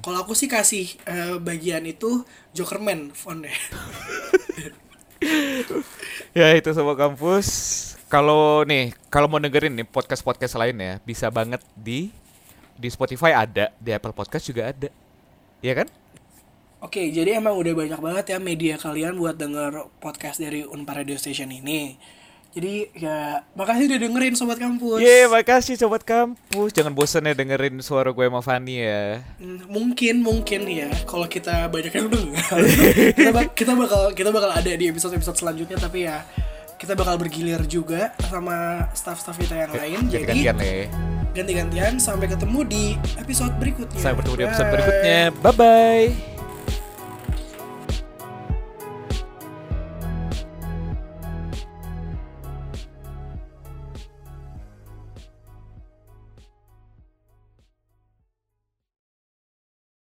Speaker 2: kalau aku sih kasih eh, bagian itu Jokerman fontnya (laughs)
Speaker 1: Ya itu sobat kampus. Kalau nih, kalau mau dengerin nih podcast-podcast lainnya bisa banget di di Spotify ada, di Apple Podcast juga ada. Iya kan?
Speaker 2: Oke, jadi emang udah banyak banget ya media kalian buat denger podcast dari Unpar Radio Station ini. Jadi ya makasih udah dengerin sobat kampus.
Speaker 1: Ye, makasih sobat kampus. Jangan bosan ya dengerin suara gue sama Fanny ya.
Speaker 2: Hmm, mungkin mungkin ya kalau kita banyak yang dengar kita, bak- kita bakal kita bakal ada di episode episode selanjutnya tapi ya kita bakal bergilir juga sama staff-staff kita yang lain jadi
Speaker 1: Gantian ya.
Speaker 2: ganti-gantian sampai ketemu di episode berikutnya
Speaker 1: Sampai bertemu di episode
Speaker 2: Bye.
Speaker 1: berikutnya. Bye bye.